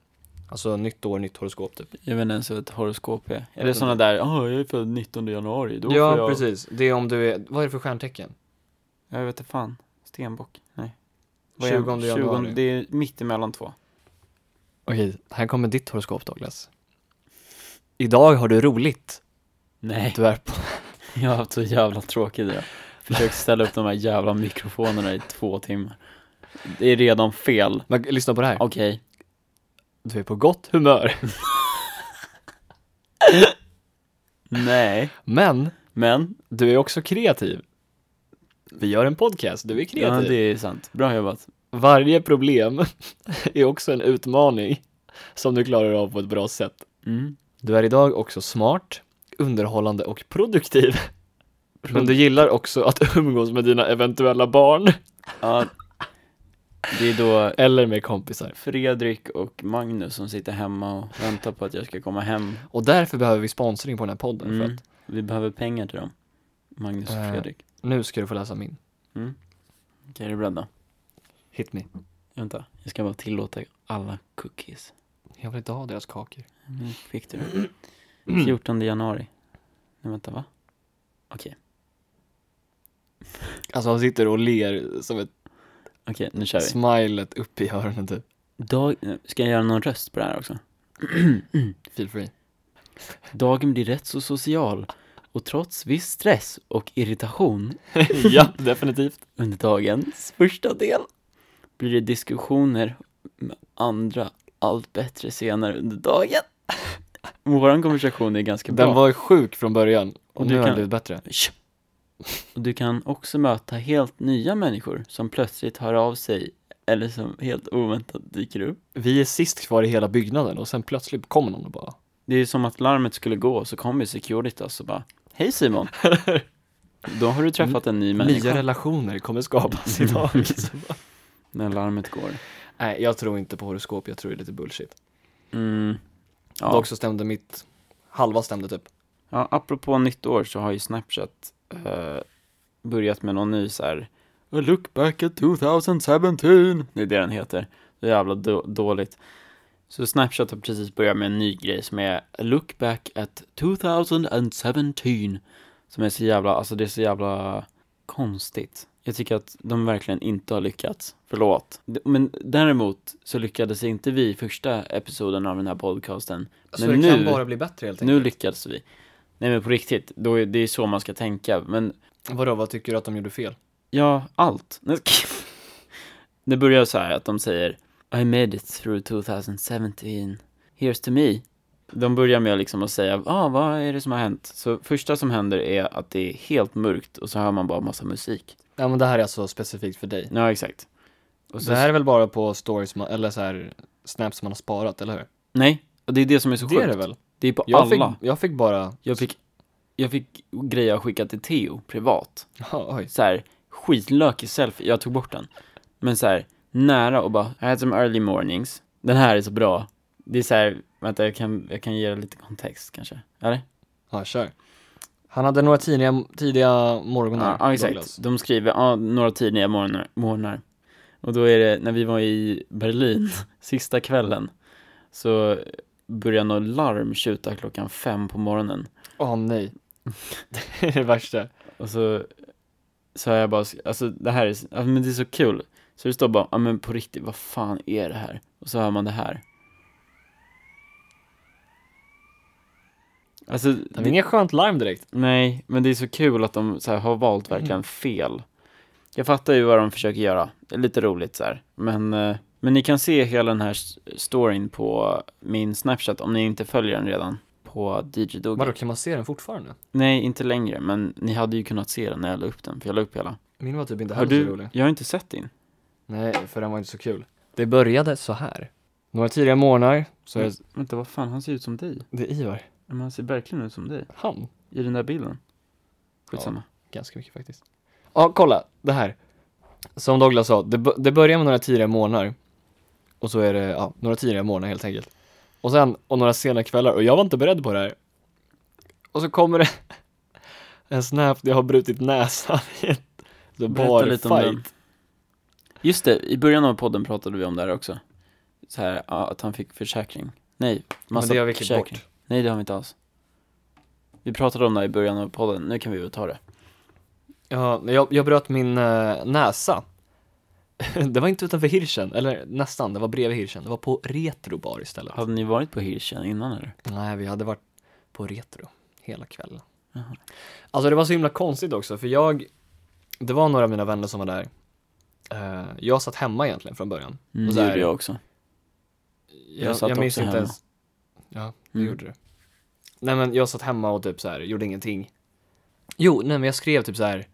Alltså nytt år, nytt horoskop typ. Jag vet inte ens vad ett horoskop är. Är det vet sådana där, ja, jag är född 19 januari, då ja, får jag... precis. Det är om du är, vad är det för stjärntecken? Jag vet inte fan. Stenbock? Nej. 20 januari. Det är mitt emellan två. Okej, här kommer ditt horoskop Douglas. Idag har du roligt. Nej, Du är på... jag har haft så jävla tråkigt idag. Försökt ställa upp de här jävla mikrofonerna i två timmar. Det är redan fel. Men lyssna på det här. Okej. Du är på gott humör. Nej. Men, Men. du är också kreativ. Vi gör en podcast, du är kreativ. Ja, det är sant. Bra jobbat. Varje problem är också en utmaning som du klarar av på ett bra sätt. Mm. Du är idag också smart, underhållande och produktiv. Men du gillar också att umgås med dina eventuella barn Ja. Det är då eller med kompisar. Fredrik och Magnus som sitter hemma och väntar på att jag ska komma hem. Och därför behöver vi sponsring på den här podden för Mm. att Vi behöver pengar till dem. Magnus och Eh. Fredrik. nu ska du få läsa min. Okej, är du beredda? Hit me. Vänta, jag ska bara tillåta alla cookies. Jag vill inte ha deras kakor. Nu fick du det. 14 januari. Nej, vänta, va? Okej, Alltså han sitter och ler som ett okej, nu kör vi. smilet upp i öronen typ. Dag... Ska jag göra någon röst på det här också? Feel free. Dagen blir rätt så social och trots viss stress och irritation ja, definitivt. under dagens första del blir det diskussioner med andra allt bättre senare under dagen. Vår konversation är ganska bra. Den var ju sjuk från början och, Och nu du har den kan- blivit bättre. Tjo. Och du kan också möta helt nya människor som plötsligt hör av sig eller som helt oväntat dyker upp. Vi är sist kvar i hela byggnaden och sen plötsligt kommer någon och bara Det är som att larmet skulle gå och så kommer Securitas och bara Hej Simon! Då har du träffat en ny Nya människa relationer kommer skapas idag. Så bara- när larmet går. Nej, jag tror inte på horoskop, jag tror det är lite bullshit. Mm. Ja. Ja. Dock så stämde mitt, halva stämde typ. ja, apropå nytt år så har ju Snapchat eh, börjat med någon ny så här A look back at 2017 Det är det den heter. Det är jävla då- dåligt. Så Snapchat har precis börjat med en ny grej som är A look back at 2017 Som är så jävla, alltså det är så jävla konstigt. Jag tycker att de verkligen inte har lyckats. Förlåt. D- Men däremot så lyckades inte vi i första episoden av den här podcasten. Så Men det kan nu- bara bli bättre helt Nu enkelt. lyckades vi. Nej men på riktigt, då är, det är så man ska tänka. Men Vadå, vad tycker du att de gjorde fel? Ja, allt. Nej, Det börjar så här att de säger I made it through 2017. Here's to me. De börjar med liksom att säga, ah, vad är det som har hänt? Så första som händer är att det är helt mörkt och så hör man bara massa musik. Ja men det här är alltså specifikt för dig. Ja, exakt. Och så, det här är väl bara på stories, man, eller så här, snaps man har sparat, eller hur? Nej, och det är det som är så Det sjukt. är det väl? Det är på Jag alla. fick, jag fick bara, Jag fick jag fick grejer jag skickat till Theo privat. Ja, oj. Så här, skitlökig selfie, jag tog bort den. Men så här, nära och bara, I had some early mornings. Den här är så bra. Det är så här, vänta jag kan, jag kan ge dig lite kontext kanske. Eller? Ja, kör. Han hade några tidiga, tidiga morgnar. Ja, ja Douglas. exakt. De skriver, ja, några tidiga morgnar, morgnar. Och då är det, när vi var i Berlin, sista kvällen, så började något larm tjuta klockan fem på morgonen. Åh nej. det är det värsta. Och så sa jag bara, alltså det här är, s- ja, men det är så kul. Så det står bara, ja men på riktigt, vad fan är det här? Och så hör man det här. Alltså, Det var inget skönt larm direkt. Nej, men det är så kul att de så här, har valt Mm. verkligen fel. Jag fattar ju vad de försöker göra. Det är lite roligt så här. Men, eh, men ni kan se hela den här s- storyn på min Snapchat om ni inte följer den redan. På DJ Doggy. Vadå, kan man se den fortfarande? Nej, inte längre, men ni hade ju kunnat se den när jag la upp den, för jag la upp hela. Min var typ inte Har heller så du? rolig. Jag har inte sett din. Nej, för den var inte så kul. Det började så här. Några tidiga morgnar, så är Vänta, vad fan, han ser ut som dig. det Ivar. Men han ser verkligen ut som dig. Han? I den där bilden. Skitsamma. Ganska mycket faktiskt. Ja, kolla. Det här. Som Douglas sa, det, b- det börjar med några tidiga morgnar. Och så är det, ja, några tidiga morgnar helt enkelt. Och sen, och några sena kvällar. Och jag var inte beredd på det här. Och så kommer det en snap där jag har brutit näsan i ett så Berätta bar lite fight. om den. Just det, i början av podden pratade vi om det här också. Så här, ja, att han fick försäkring. Nej, massa Men det har vi klippt försäkring. bort. Nej, det har vi inte alls. Vi pratade om det här i början av podden, nu kan vi väl ta det. Ja, men jag, jag bröt min eh, näsa. det var inte utanför Hirschen, eller nästan, det var bredvid Hirschen. Det var på Retrobar istället. Hade ni varit på Hirschen innan eller? Nej, vi hade varit på retro hela kvällen. Jaha. Alltså det var så himla konstigt också, för jag, det var några av mina vänner som var där. Eh, jag satt hemma egentligen från början. Mm, det Och så här- gjorde jag också. Jag, jag, satt minns också inte hemma. ens. Ja, det Mm. gjorde du. Nej men jag satt hemma och typ så här, gjorde ingenting. Jo, nej men jag skrev typ så här.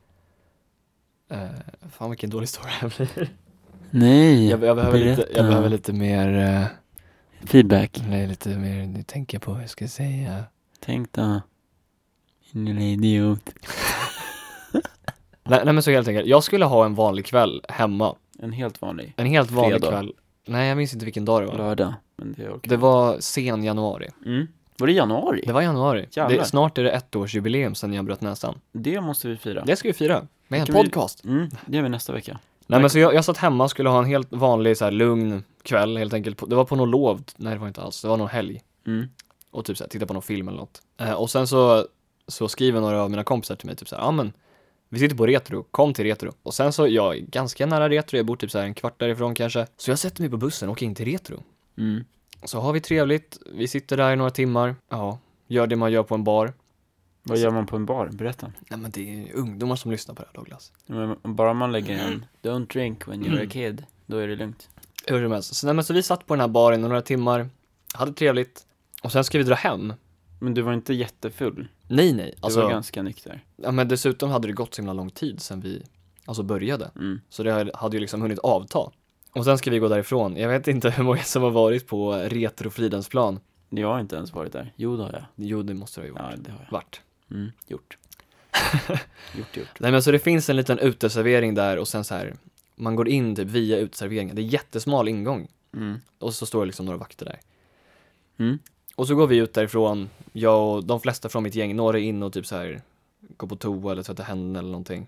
eh, fan vilken dålig story det här blir. Nej, Jag, jag, behöver, lite, berätta. jag behöver lite mer, eh, Feedback. nej, lite mer, nu tänker jag på hur jag ska säga. Tänk då. Din lilla idiot. Nej, nej men så helt enkelt, jag skulle ha en vanlig kväll hemma. En helt vanlig En helt vanlig Fredag. kväll. Nej, jag minns inte vilken dag det var. lördag. Men det orkar Det var sen januari. mm. Var det januari? Det var januari. Jävlar. Det, snart är det ett års jubileum sen jag bröt näsan. Det måste vi fira. Det ska vi fira. Med en kan vi- podcast. Mm, det gör vi nästa vecka. Nej men så jag, jag satt hemma och skulle ha en helt vanlig så här lugn kväll helt enkelt. På- Det var på något lov. Nej det var inte alls. Det var någon helg. Mm. Och typ så här, titta på någon film eller något. Eh, och sen så, så skriver några av mina kompisar till mig typ så här, ja men vi sitter på Retro, kom till Retro. Och sen så, jag är ganska nära Retro, jag bor typ så här en kvart därifrån kanske. Så jag sätter mig på bussen och åker in till Retro. Mm. Så har vi trevligt, vi sitter där i några timmar, ja, gör det man gör på en bar. Vad gör man på en bar? Berätta. Nej men det är ju ungdomar som lyssnar på det här Douglas. Ja, Men bara man lägger en Don't drink when Mm. you're a kid, då är det lugnt. Hur som helst, så, nej, men så vi satt på den här baren i några timmar, hade trevligt, och sen ska vi dra hem. Men du var inte jättefull, Nej nej, du alltså, var ganska nykter. ja, men dessutom hade det gått så himla lång tid sen vi, alltså började. Mm. Så det hade ju liksom hunnit avta. Och sen ska vi gå därifrån, jag vet inte hur många som har varit på Retro Fridensplan. Jag har inte ens varit där. Jo, det har jag. Jo det måste det ha gjort. Ja, det har jag. Vart? Mm. Gjort. gjort, gjort. Nej men så det finns en liten uteservering där och sen så här, man går in typ via uteserveringen, det är jättesmal ingång. Mm. Och så står det liksom några vakter där. Mm. Och så går vi ut därifrån, jag och de flesta från mitt gäng, några är in och typ så här går på toa eller tvättar händerna eller någonting.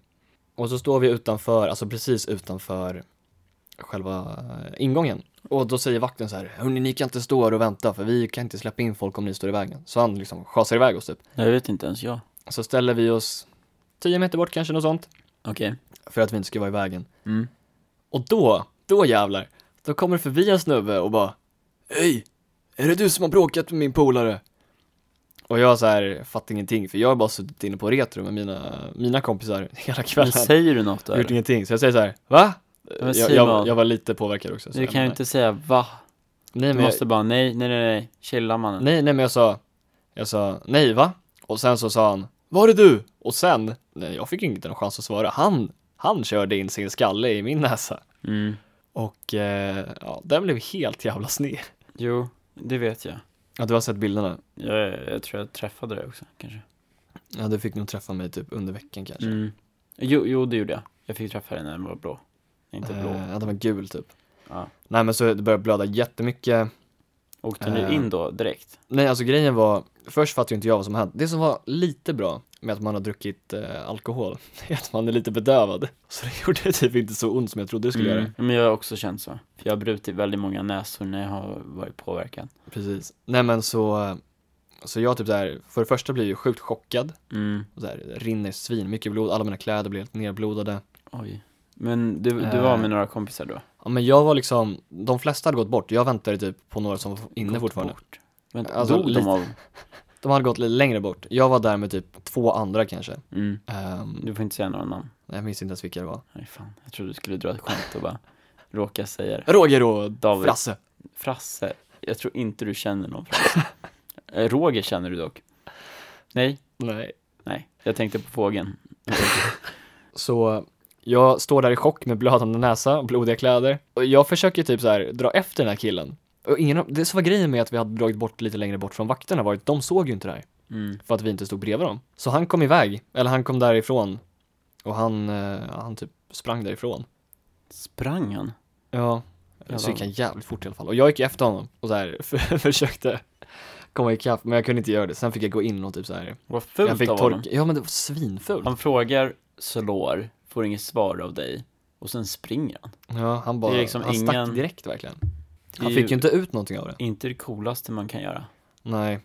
Och så står vi utanför, alltså precis utanför själva eh, ingången. Och då säger vakten så här, hörni ni kan inte stå här och vänta för vi kan inte släppa in folk om ni står i vägen. Så han liksom schasar iväg oss typ. Jag vet inte ens jag. Så ställer vi oss 10 meter bort kanske, något sånt. Okej. För att vi inte ska vara i vägen. Mm. Och då, då jävlar, då kommer det förbi en snubbe och bara Hej! Är det du som har bråkat med min polare? Och jag så här fattar ingenting för jag har bara suttit inne på retro med mina, mina kompisar hela Men kvällen. säger du något då? Jag gjort eller? ingenting, så jag säger så här, va? Men jag, Simon. jag, jag var lite påverkad också. så Du jag kan ju menar- inte säga va? nej, Du men jag, måste bara nej, nej, nej, nej. Chilla mannen. nej, nej men jag sa, jag sa nej va? Och sen så sa han, var är du? Och sen, nej jag fick inte en chans att svara, han, han körde in sin skalle i min näsa. Mm. Och eh, ja, den blev helt jävla sned. Jo, det vet jag. Ja, du har sett bilderna. jag. Jag tror jag träffade dig också, kanske. Ja, du fick nog träffa mig typ under veckan kanske. Mm. Jo, jo, det gjorde jag. Jag fick träffa henne när den var blå. Inte blå. Eh, ja, den var gul typ. Ja. Nej men så det började blöda jättemycket. Åkte ni eh. in då direkt? Nej alltså grejen var, först fattade ju inte jag vad som hände. Det som var lite bra med att man har druckit eh, alkohol, är att man är lite bedövad. Så det gjorde typ inte så ont som jag trodde det skulle göra. Mm. Men jag har också känt så. För jag har brutit väldigt många näsor när jag har varit påverkad. Precis. Nej men så, så jag typ såhär, för det första blir jag ju sjukt chockad. Mm. Och så här, det rinner svin, mycket blod, alla mina kläder blir helt nerblodade. Oj. Men du, du var Eh. med några kompisar då? Ja men jag var liksom, de flesta hade gått bort, jag väntade typ på några som var inne Gått fortfarande. Bort. Vänta, Alltså, dog de lite. av? De hade gått lite längre bort, jag var där med typ två andra kanske. Mm. Ehm, Du får inte säga några namn. nej, jag minns inte ens vilka det var. Nej fan, jag trodde du skulle dra ett skämt och bara råka säga det. Roger och David. Frasse. Frasse. Jag tror inte du känner någon Frasse. Eh, Roger känner du dock. Nej, Nej. nej. Jag tänkte på fågeln. Så jag står där i chock med blödande näsa och blodiga kläder. Och jag försöker typ så här dra efter den här killen. Och ingen av, det som var grejen med att vi hade dragit bort lite längre bort från vakterna var att de såg ju inte det här. Mm. För att vi inte stod bredvid dem. Så han kom iväg, eller han kom därifrån. Och han, eh, han typ sprang därifrån. Sprang han? Ja. Eh, Så Jävlar. gick han jävligt fort i alla fall. Och jag gick efter honom och så här försökte komma ikapp, men jag kunde inte göra det. Sen fick jag gå in och typ så här. Vad fult Jag fick av honom. torka, ja men det var svinfult. Han frågar, slår, får inget svar av dig och sen springer han. Ja, han bara, Det är liksom han ingen- stack direkt verkligen. Han ju- fick ju inte ut någonting av det. Inte det coolaste man kan göra. Nej.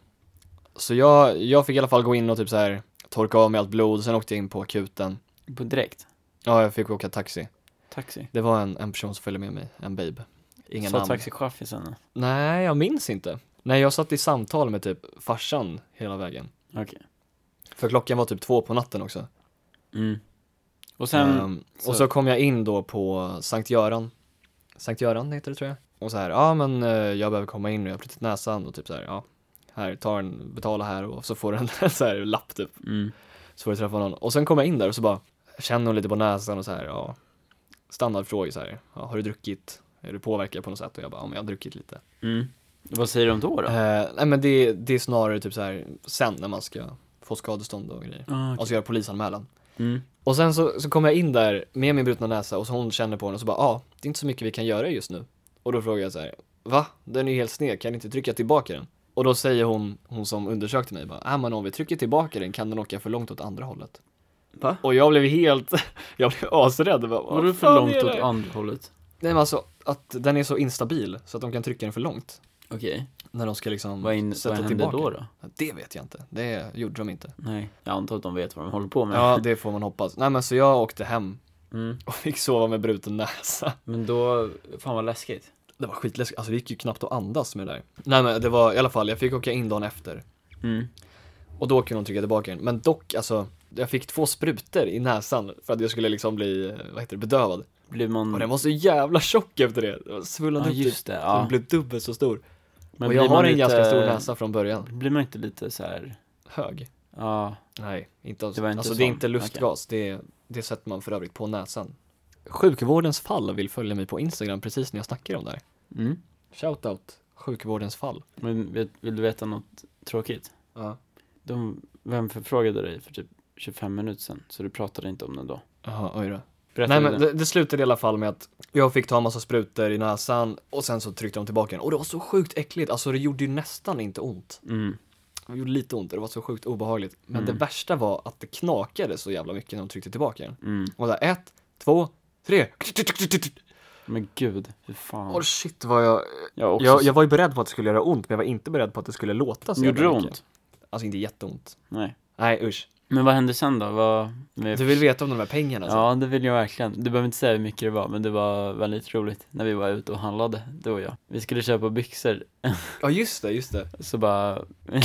Så jag, jag fick i alla fall gå in och typ så här torka av mig allt blod, sen åkte jag in på akuten. På direkt. Ja, jag fick åka taxi. Taxi. Det var en, en person som följde med mig, en babe. Inga Sa namn. taxichauffören. Nej, jag minns inte. Nej, jag satt i samtal med typ farsan hela vägen. Okej. För klockan var typ två på natten också. Mm. Och sen, Ehm, så- Och så kom jag in då på Sankt Göran. Sankt Göran heter det tror jag. Och så här, ja men eh, jag behöver komma in nu, jag har brutit näsan och typ så här, ja. Här, ta en, betala här och så får du en, så här lapp typ. mm. Så får du träffa någon. Och sen kom jag in där och så bara, känner hon lite på näsan och så här, ja. Standardfrågor så här, ja, har du druckit? Är du påverkad på något sätt? Och jag bara, ja men jag har druckit lite. Mm. vad säger de då då? Eh, nej men det, det är snarare typ så här, sen när man ska få skadestånd och grejer. Ah, okej. Alltså göra polisanmälan. mm. Och sen så, så kom jag in där med min brutna näsa och så hon känner på den och så bara ja, ah, det är inte så mycket vi kan göra just nu. Och då frågar jag så här, va? Den är ju helt sned, kan ni inte trycka tillbaka den? Och då säger hon, hon som undersökte mig bara, ah, men om vi trycker tillbaka den kan den åka för långt åt andra hållet. Va? Och jag blev helt, jag blev asrädd. Jag Bara, "Vad Vadå för fan långt är det åt här?" andra hållet? Nej men alltså, att den är så instabil så att de kan trycka den för långt. Okej. När de ska liksom Vad, in, sätta vad hände tillbaka. då den. då? Det vet jag inte, det gjorde de inte. Nej, jag antar att de vet vad de håller på med. Ja, det får man hoppas. Nej men så jag åkte hem Mm. och fick sova med bruten näsa. Men då, fan vad läskigt. Det var skitläskigt, alltså det gick ju knappt att andas med det där. Nej men det var i alla fall, jag fick åka in dagen efter. Mm. Och då kunde de trycka tillbaka den. Men dock, alltså, jag fick två sprutor i näsan för att jag skulle liksom bli, vad heter det, bedövad. Blev Och man... den var så jävla tjock efter det. Den Ja, svullnade upp typ. just det. Den Ja. blev dubbelt så stor. Men och jag blir har man en lite- ganska stor näsa från början. Blir man inte lite så här... Hög. Ja, Nej, inte alls. Det var inte alltså det är sån. inte lustgas, det, det sätter man för övrigt på näsan. Sjukvårdens fall vill följa mig på Instagram precis när jag snackar om det här. mm. Shoutout, sjukvårdens fall. Men vet, vill du veta något tråkigt? Ja. De, vem förfrågade dig för typ 25 minuter sedan? Så du pratade inte om den då? Jaha, oj då. Berätta Nej du den? men det, det slutade i alla fall med att jag fick ta en massa sprutor i näsan och sen så tryckte de tillbaka den och det var så sjukt äckligt, alltså det gjorde ju nästan inte ont. Mm. Det gjorde lite ont och det var så sjukt obehagligt. Men Mm. det värsta var att det knakade så jävla mycket när de tryckte tillbaka den. Mm. Och där ett, två, tre. Men gud, hur fan. Åh Oh, shit vad jag... jag, har också, jag... Jag var ju beredd på att det skulle göra ont men jag var inte beredd på att det skulle låta så Gjorde det jävla mycket. ont? Alltså inte jätteont. Nej. Nej usch. Men vad hände sen då? Vad... med- Du vill veta om de här pengarna alltså? Ja, det vill jag verkligen. Du behöver inte säga hur mycket det var, men det var väldigt roligt när vi var ute och handlade, du och jag. Vi skulle köpa byxor, Ja just det, just det. så bara...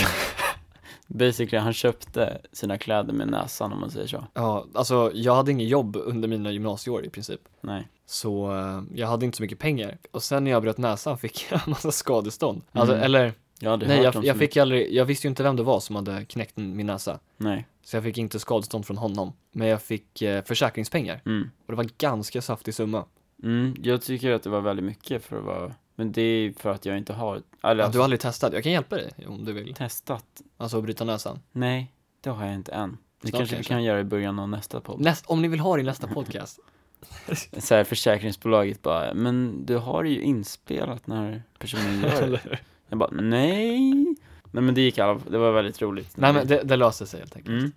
Basically, han köpte sina kläder med näsan om man säger så. Ja, alltså jag hade inget jobb under mina gymnasieår i princip. Nej. Så eh, jag hade inte så mycket pengar. Och sen när jag bröt näsan fick jag en massa skadestånd. Alltså, Mm. eller, Jag hade nej, hört jag, om jag så fick aldrig, jag visste ju inte vem det var som hade knäckt min näsa. mycket. Nej. Så jag fick inte skadestånd från honom. Men jag fick eh, försäkringspengar. Mm. Och det var en ganska saftig summa. Mm, jag tycker att det var väldigt mycket för att vara... Men det är för att jag inte har... Eller, alltså, Ja, du har aldrig testat, jag kan hjälpa dig om du vill. testat. Alltså att bryta näsan. Nej. Det har jag inte än. Det Snart kanske vi kanske. kan göra i början av nästa podd. Näst, om ni vill ha det i nästa podcast. Mm. Så här, försäkringsbolaget bara, men du har det ju inspelat när personen gör det. Eller- Jag bara, nej. Nej men det gick alla, det var väldigt roligt. Nej men det, det löser sig helt enkelt. Mm.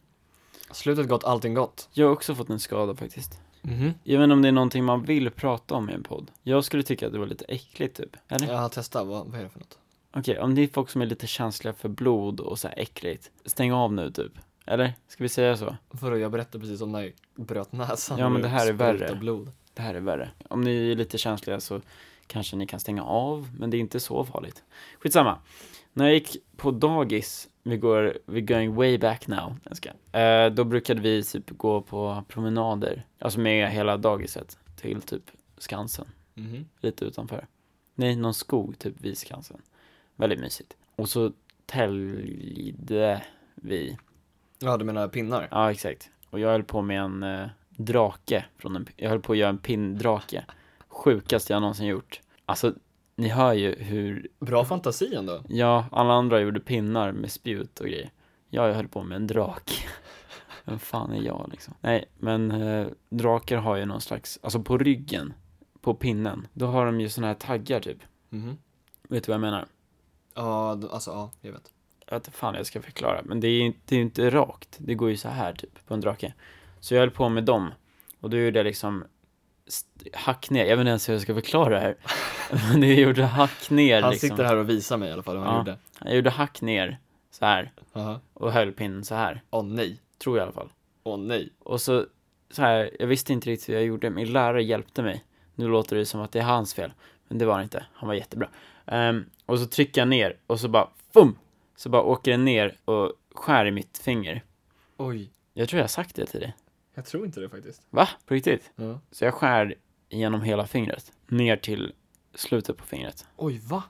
Slutet gott, allting gott. Jag har också fått en skada faktiskt. Jag vet inte om det är någonting man vill prata om i en podd. Jag skulle tycka att det var lite äckligt typ. Eller? Jag har testat, vad, vad är det för något? Okej, om det är folk som är lite känsliga för blod och så här äckligt, stäng av nu typ. Eller? Ska vi säga så? Vadå, jag berättade precis om när jag bröt näsan. Ja, men och det här är sprutade värre. blod. Det här är värre. Om ni är lite känsliga så kanske ni kan stänga av, men det är inte så farligt. Skitsamma. När jag gick på dagis, vi går, we're going way back now, Jag ska. Eh, då brukade vi typ gå på promenader, alltså med hela dagiset, till typ Skansen, Mhm. lite utanför. Nej, någon skog typ vid Skansen. Väldigt mysigt. Och så täljde vi Ja, du menar pinnar? Ja, exakt. Och jag höll på med en eh, drake från en, jag höll på att göra en pinndrake. Sjukaste jag någonsin gjort. Alltså, ni hör ju hur, Bra fantasi ändå. ja, alla andra gjorde pinnar med spjut och grejer. Jag höll på med en drake. Vem fan är jag liksom? Nej, men eh, drakar har ju någon slags, alltså på ryggen, på pinnen, då har de ju såna här taggar typ. Mhm. Vet du vad jag menar? Ja, d- alltså ja, jag vet. jag vet inte fan jag ska förklara, men det är ju det är ju inte rakt. Det går ju så här typ, på en drake. Så jag höll på med dem, och då gjorde jag liksom st- hack ner, jag vet inte ens hur jag ska förklara det här. Men jag gjorde hack ner Han liksom. sitter här och visar mig i alla fall vad han Ja. gjorde. Jag gjorde hack ner, så här Aha. och höll pinnen så här Åh nej, tror jag i alla fall. åh nej. Och så, så här, jag visste inte riktigt hur jag gjorde, min lärare hjälpte mig. Nu låter det som att det är hans fel, men det var det inte. Han var jättebra. Ehm, och så trycker jag ner, och så bara, fum! Så bara åker den ner och skär i mitt finger. Oj, Jag tror jag har sagt det till dig. jag tror inte det faktiskt. Va? På riktigt? Ja. Så jag skär genom hela fingret. Ner till slutet på fingret. Oj, va?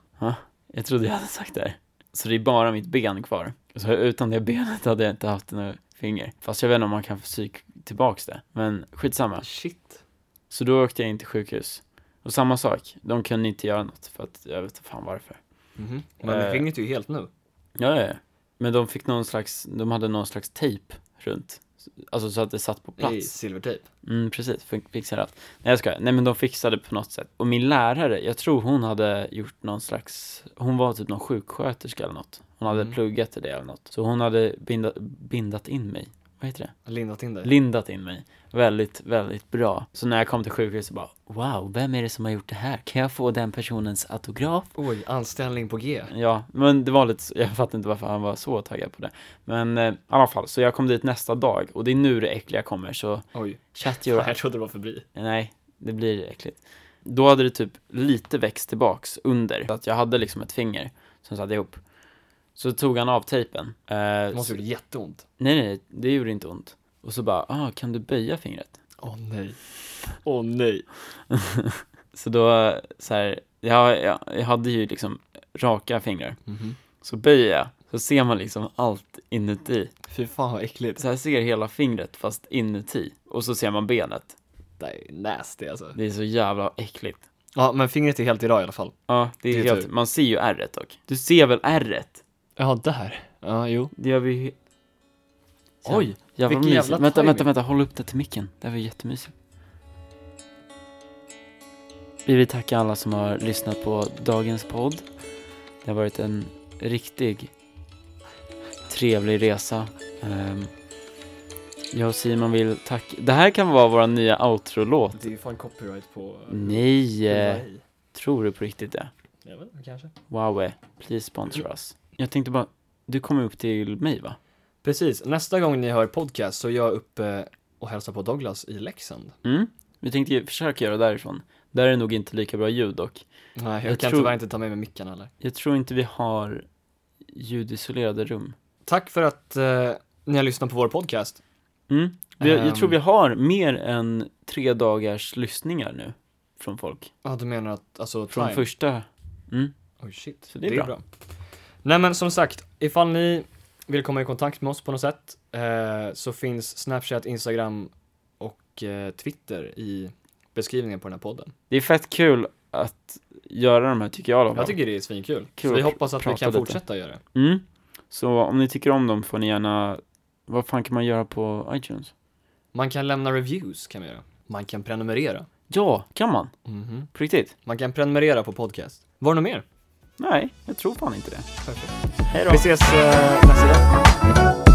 Jag trodde jag hade sagt det här. Så det är bara mitt ben kvar. Så utan det benet hade jag inte haft några finger. Fast jag vet inte om man kan få psyk tillbaks det. Men skitsamma. Shit. Så då åkte jag in till sjukhus. Och samma sak. De kunde inte göra något för att jag vet inte fan varför. Mhm. Men Eh. fingret är ju helt nu. Ja, ja, ja. Men de fick någon slags, de hade någon slags tejp runt. Alltså så att det satt på plats. I silvertejp. Mm, precis, Fix- fixade allt. Nej jag skojar, nej men de fixade på något sätt. Och min lärare, jag tror hon hade gjort någon slags, hon var typ någon sjuksköterska eller något. Hon hade Mm. pluggat till det eller något. Så hon hade binda, bindat in mig, vad heter det? Lindat in dig. Lindat in mig. Väldigt, väldigt bra. Så när jag kom till sjukhuset bara, wow, vem är det som har gjort det här? Kan jag få den personens autograf? Oj, anställning på G. Ja, men det var lite, så- jag fattar inte varför han var så taggad på det. Men eh, i alla fall, så jag kom dit nästa dag och det är nu det äckliga kommer så Oj, shut your jag trodde det var förbi. Nej, det blir äckligt. Då hade det typ lite växt tillbaks under, så att jag hade liksom ett finger som satt ihop. Så tog han av tejpen. Eh, Det måste gjort jätteont. nej, nej, nej, det gjorde inte ont. Och så bara, ah, kan du böja fingret? Åh nej. Åh nej. Så då, så här, jag, jag, jag hade ju liksom raka fingrar. Så böjer jag, så ser man liksom allt inuti. Fy fan vad äckligt. Så här ser hela fingret fast inuti. Och så ser man benet. Det är nasty alltså. Det är så jävla äckligt. Ja, men fingret är helt idag i alla fall. Ja, det är, typ- Det är helt, tur. man ser ju ärret dock. Du ser väl ärret? Ja, där. Ja, jo. Det gör vi ju... Så. Oj, jävla vilken mysigt. jävla vänta, vänta, timing. vänta, håll upp det till micken. Det här var jättemysigt. Vi vill tacka alla som har lyssnat på dagens podd. Det har varit en riktig trevlig resa. Ehm, jag och Simon vill tacka... Det här kan vara vår nya outro-låt. Det är fan copyright på... Mm. Nej! eh, Tror du på riktigt det? Jag vet inte, kanske. Huawei, please sponsor us. Jag tänkte bara, du kommer upp till mig va? Precis, nästa gång ni hör podcast så är jag uppe och hälsar på Douglas i Leksand. Mm. Vi tänkte ju försöka göra därifrån. Där är det nog inte lika bra ljud dock. Nej, jag, Jag kan tror- tyvärr inte ta med mig micken heller. Jag tror inte vi har ljudisolerade rum. Tack för att eh, ni har lyssnat på vår podcast. Mm. Vi, Jag Ehm. tror vi har mer än tre dagars lyssningar nu från folk. Ja, du menar att, alltså, Från time. första. Mm. Oj shit, Så det är bra. Nej men som sagt, ifall ni vill komma i kontakt med oss på något sätt eh, så finns Snapchat, Instagram och eh, Twitter i beskrivningen på den här podden. Det är fett kul att göra de här tycker jag i alla fall. Jag tycker det är svinkul. Kul så vi att hoppas att vi prata kan lite. fortsätta göra det. Mm. Så om ni tycker om dem får ni gärna Vad fan kan man göra på iTunes? Man kan lämna reviews kan man göra. Man kan prenumerera. Ja, kan man? Mhm. På riktigt? Man kan prenumerera på podcast. Var det något mer? Nej, jag tror fan inte det. Perfekt. Hej då! Vi ses eh, nästa gång.